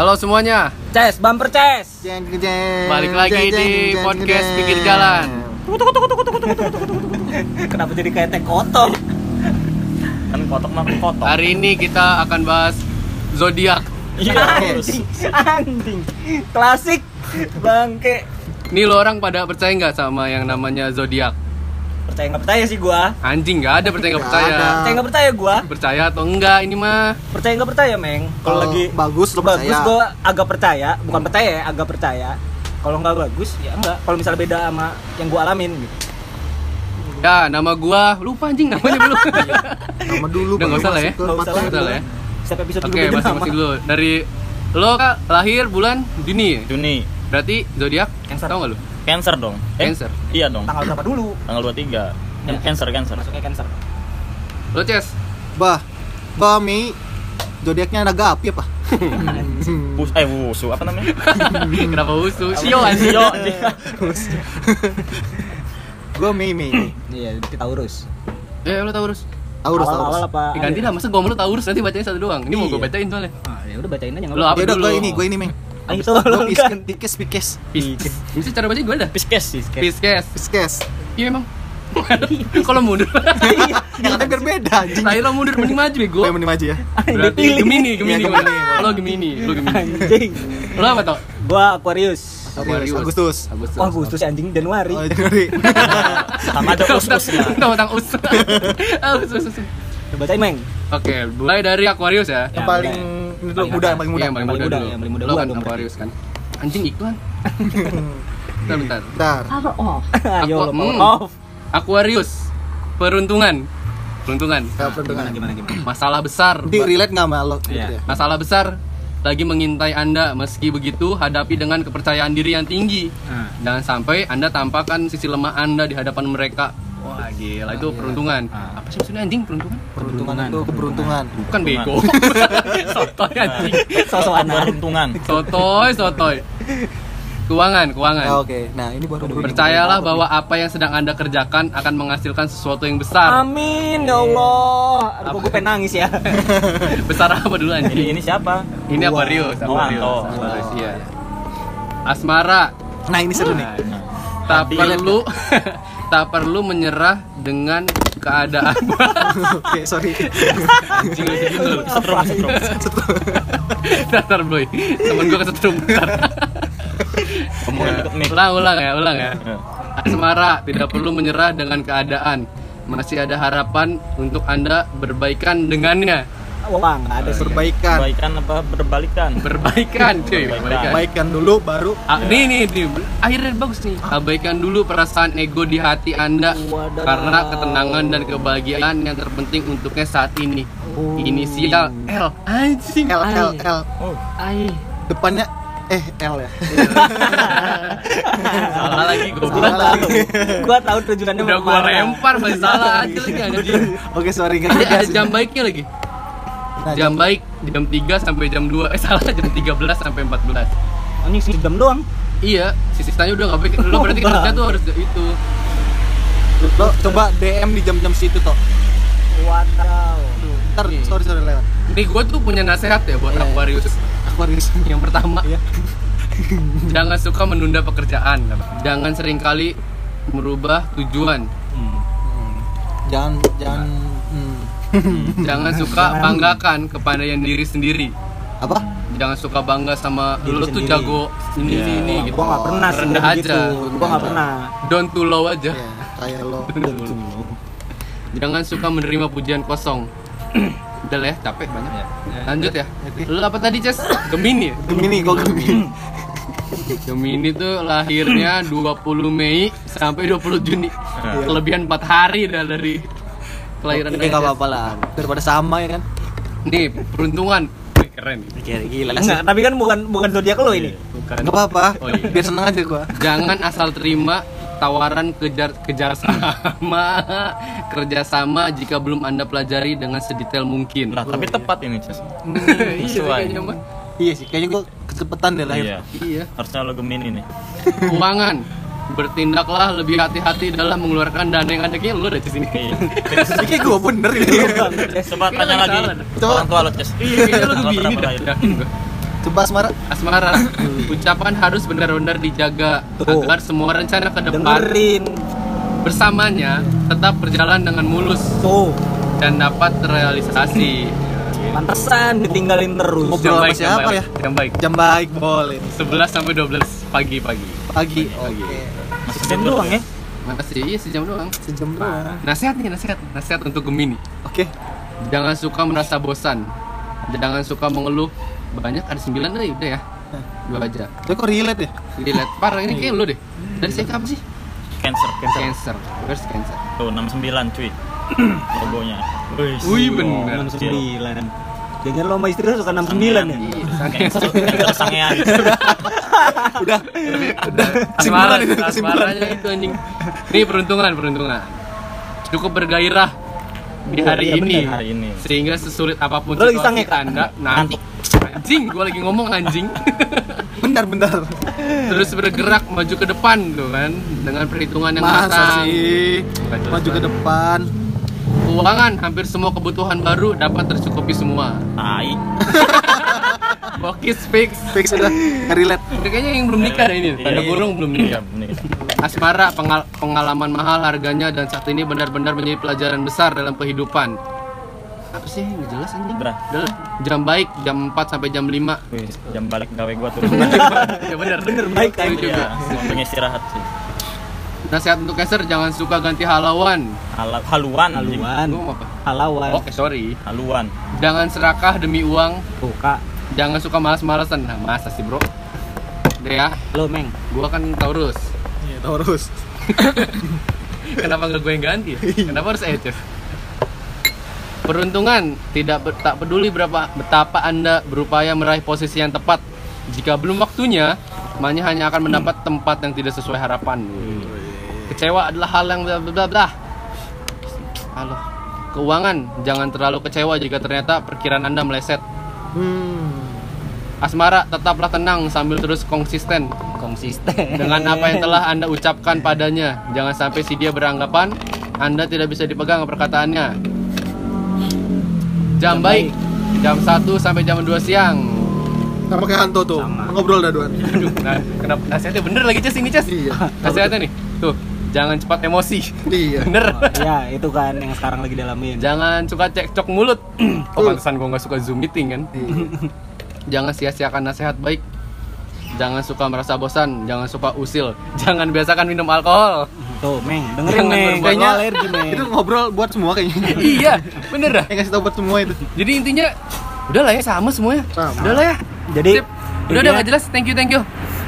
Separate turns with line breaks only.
Halo semuanya,
Ces, bumper ces.
Jeng, jeng,
balik lagi
jeng,
di
jeng, jeng,
podcast
jeng.
pinggir jalan.
Kenapa jadi kayak teh kotok? kan kotok mah kotok.
Hari ini kita akan bahas zodiak.
Iya, anjing, anjing. Klasik bangke.
Nih lo orang pada percaya nggak sama yang namanya zodiak?
Percaya nggak percaya sih gua?
Anjing nggak ada percaya nggak
Nggak
percaya.
ada.
Percaya nggak percaya gua?
Percaya atau enggak ini mah?
Percaya nggak percaya, Meng? Kalau
Kalau
lagi
bagus, lu
bagus
percaya.
gua agak percaya, bukan percaya ya, agak percaya. Kalau nggak bagus ya enggak. Kalau misalnya beda sama yang gua alamin gitu.
Ya nama gua lupa anjing namanya belum.
Sama dulu
Udah, nggak
baru
usah lah
masuk
ya.
ke
Nggak usah
podcast.
Nggak usah lah ya.
Setiap episode
Oke
juga beda
masih
nama.
masih dulu dari lo kak lahir bulan Juni. ya?
Juni
Berarti zodiak
Cancer.
tahu nggak lo?
Cancer dong
Cancer.
Iya dong
Tanggal berapa dulu?
Tanggal 23
Ya.
Cancer, cancer
Masuknya cancer.
Lo Ces?
Bah, bah Mi, zodiaknya ada ya, gapi apa?
Bus, eh wusu, apa namanya?
Kenapa usu? Sio anjing.
Sio
Gua Mi Mi. Mi.
Iya, kita urus.
Eh lo Taurus?
Taurus
Awal-awal
Taurus.
apa?
Eh, ganti lah, masa gua mulu Taurus nanti bacain satu doang. Ini mau gua
Ah, Iya.
bacain soalnya.
Ah, ya udah bacain aja nggak
Lu
apa-apa.
apa
Ya udah
dulu?
gua ini, gua ini Meng.
Ah, itu lo
Gua
kan.
piskes, pikes, pikes,
Pisces. Mesti cara baca gimana?
Piskes sih
Pisces.
piskes.
Iya emang. Kalau mundur.
Yang ada biar beda anjing.
Lahir lo mundur mending maju bego.
Gua yang menim aja ya.
Berarti
Dipilih.
Gemini, Gemini.
Iya,
Gemini. Lo Gemini, lo Gemini.
Anjing.
Lo apa tau?
Gua Aquarius.
Aquarius, Agustus.
Agustus.
Wah, Agustus anjing Januari.
iya.
Oh, Januari.
Sama ada us-us lah
Tahu tentang us. Ah, Us us us.
Coba cek, Meng.
Oke, mulai dari Aquarius ya.
Yang paling ini dulu, muda, yang paling muda.
Iya, yang paling muda
muda,
dulu.
yang paling muda
Lo
gua
kan
dong, berarti.
Aquarius kan. Anjing iklan. Bentar bentar.
Bentar.
Ayo
Aqua-
lo power
hmm.
off.
Aquarius. Peruntungan. Peruntungan.
Nah, peruntungan.
Gimana gimana gimana.
Masalah besar.
Di relate nggak sama lo? gitu
Iya.
ya?
Masalah besar lagi mengintai Anda. Meski begitu, hadapi dengan kepercayaan diri yang tinggi.
Ah.
Jangan sampai Anda tampakkan sisi lemah Anda di hadapan mereka. Wah, gila itu peruntungan.
Ah.
Apa sih maksudnya anjing peruntungan?
Peruntungan itu keberuntungan.
Bukan bego. sotoy anjing.
Sosokan anjing.
Peruntungan
Sotoy, sotoy. Keuangan, keuangan.
Nah, Oke, nah ini baru
Percayalah bahwa apa yang sedang Anda kerjakan akan menghasilkan sesuatu yang besar. Iya.
Amin ya Allah. Aduh, gue pengen nangis ya.
Besar apa dulu
Jadi
anjing?
ini siapa?
Ini Aquarius,
Oh,
Aquarius.
oh.
Aquarius, iya. Asmara,
Nah, ini seru nih.
Nah,
tak
Tapi- ya.
perlu tak perlu menyerah dengan keadaan
Oke, sorry.
anjing lu gitu lu.
Setrum, setrum
Ntar, ntar, boy temen gua kesetrum ntar.
Omongan deket mic
ulang ulang ya ulang ya
Ya.
Asmara tidak perlu menyerah dengan keadaan masih ada harapan untuk anda berbaikan dengannya
Wah, enggak ada sih.
Perbaikan.
Baikan apa berbalikan?
berbaikan cuy berbaikan
Baikan dulu baru
Ah, nih nih nih akhirnya bagus nih abaikan dulu perasaan ego di hati anda
Wadaw.
karena ketenangan dan kebahagiaan yang terpenting untuknya saat ini inisial L anjing
L L L
Oh,
Ay.
depannya eh L ya
salah lagi
Gua
goblok
tahu. Gua tahu tujuannya
udah
mau
gua
kemana.
lempar masih salah aja lagi anjing
oke sorry nggak
Ini ada
kegas.
jam baiknya lagi
Nah,
jam baik jam 3 sampai jam 2 eh salah jam 13 sampai 14
Anjing sih jam doang.
iya sisi sisanya udah gak baik lu berarti
Bang.
kerja tuh harus itu
lo coba DM di jam-jam situ toh
Wadaw.
ntar sorry sorry lewat
nih gua tuh punya nasihat ya buat Aquarius
Aquarius
yang pertama
Iya.
jangan suka menunda pekerjaan jangan seringkali merubah tujuan
Hmm.
jangan jangan hmm.
jangan suka banggakan kepandaian diri sendiri
apa
jangan suka bangga sama
Diri
lu tuh
sendiri.
jago ini
Iya.
ini
Wah,
gitu
Gua nggak pernah sih
Rendah
begitu.
aja. Iya
Gua nggak pernah.
don't too low aja
ya kayak lo
Jangan suka menerima pujian kosong. Udah lah ya, capek banyak. Lanjut ya. Lu apa tadi, Ces? Gemini ya?
Gemini kok Gemini
Gemini tuh lahirnya 20 Mei sampai 20 Juni. Kelebihan 4 hari dah dari kelahiran
Oke,
dari
nggak
Ces.
apa-apa lah daripada sama ya kan
Nih, peruntungan. Wih, keren.
gila gila
Enggak, tapi kan bukan bukan zodiak lo ini.
Bukan.
nggak apa-apa
Oh, iya.
biar seneng aja gua
Jangan asal terima tawaran kejar kejar sama kerjasama jika belum anda pelajari dengan sedetail mungkin.
Nah, tapi tepat ini, Ces
Iya, kayaknya, Bang.
iya sih kayaknya gua kecepatan deh ya. lahir
Iya
Iya.
Harusnya lo Gemini nih
keuangan bertindaklah lebih hati-hati dalam mengeluarkan dana yang ada kayaknya lu ada di sini
Iya.
Tapi kayak gua bener gitu
Iya.
Coba tanya
Kayaknya
lagi
salah dah.
Orang tua lo, Ces
iya kayaknya lu tuh
Orang
bini
pertama
dah
lahir.
yakin gua.
coba asmara
Asmara, ucapan harus benar-benar dijaga
Tuh.
agar semua rencana ke depan
dengerin
bersamanya tetap berjalan dengan mulus
tuh
dan dapat terrealisasi.
pantesan ditinggalin terus
Ngobrol sama siapa
yang
ya?
baik, yang baik.
jam baik boleh
11 sampai 12 pagi-pagi.
pagi oke
Maksudnya
Sejam
doang
doang
ya?
ya
Makasih, iya sejam doang.
sejam doang
Nasihat nih, nasihat, nasihat untuk Gemini.
oke
Jangan suka merasa bosan. Jangan suka mengeluh. Banyak ada 9 deh, udah ya.
Hmm.
Dua aja.
tapi kok relate ya
Relate parah ini
Iya.
kayak lu deh. Dari saya apa sih?
Cancer, cancer.
Cancer. Verse cancer.
Tuh, 69 cuy. Logonya.
Wih, bener.
69 Jangan lo sama istri lo suka 69
Iya,
ya?
Cancer, cancer sangean.
udah
Asmara,
Kesimpulan itu, kesimpulan.
asmaranya itu anjing. Ini peruntungan, peruntungan. Cukup bergairah di hari
Iya,
ini.
bener, hari ini.
Sehingga sesulit apapun
Lo lagi sange, Kak?
Anda, nah,
Ngantuk.
anjing, gua lagi ngomong anjing.
bentar bentar
Terus bergerak maju ke depan tuh kan dengan perhitungan yang
masa
matang.
sih
Betul.
maju ke depan
Keuangan hampir semua kebutuhan baru dapat tercukupi semua.
Tai.
Bokis fix.
fix udah nggak relate
Kayaknya yang belum nikah ini, tanda burung belum nikah.
Iya, bener.
Asmara, pengal- pengalaman mahal harganya dan saat ini benar-benar menjadi pelajaran besar dalam kehidupan. Apa sih yang nggak jelas anjing?
Bra.
Udah lah. Jam baik jam 4 sampai jam 5.
Wih, jam balik gawe gua tuh.
ya benar.
Bener, baik kan?
Itu juga.
Iya, waktunya istirahat sih.
Nasihat untuk Keser jangan suka ganti halauan.
Ala- haluan, anjing.
Haluan
Gua mau apa?
Halawan
Oke, sorry.
Haluan.
Jangan serakah demi uang,
Tuh kak
jangan suka malas-malasan. Nah, masa sih, Bro? Udah ya,
Lo meng
gua kan Taurus.
ya terus
Kenapa nggak gue yang ganti? ya? Kenapa harus Eces? Peruntungan tidak ber- tak peduli berapa betapa anda berupaya meraih posisi yang tepat. Jika belum waktunya, Manya hanya akan mendapat tempat yang tidak sesuai harapan. Kecewa adalah hal yang bla bla bla bla. Halo. Keuangan, jangan terlalu kecewa jika ternyata perkiraan Anda meleset.
hmm
Asmara, tetaplah tenang sambil terus konsisten
Konsisten
dengan apa yang telah Anda ucapkan padanya. Jangan sampai si dia beranggapan Anda tidak bisa dipegang perkataannya. Jam baik, jam 1 sampai jam 2 siang.
sama kayak Hanto tuh
Sama.
ngobrol dah Duan
Aduh, nah, kenapa nasihatnya bener lagi Ces ini Ces?
Iya.
Nasihatnya nih. Tuh, jangan cepat emosi.
iya
Bener.
Ya itu kan yang sekarang lagi dalamin
Jangan suka cekcok mulut. Oh, pantesan gua nggak suka Zoom meeting kan.
Iya.
Jangan sia-siakan nasihat baik. Jangan suka merasa bosan, jangan suka usil, jangan biasakan minum alkohol.
Tuh meng Dengerin
Jangan
meng
berbuat
Kayaknya
Kayaknya-
alergi meng
itu ngobrol buat semua kayaknya
iya, bener dah.
yang ngasih tau buat semua itu
Jadi intinya udahlah ya sama Iya. semuanya.
Sama.
Udahlah ya.
Jadi
Sip. Udah udah
intinya-
nggak jelas. Thank you, thank you.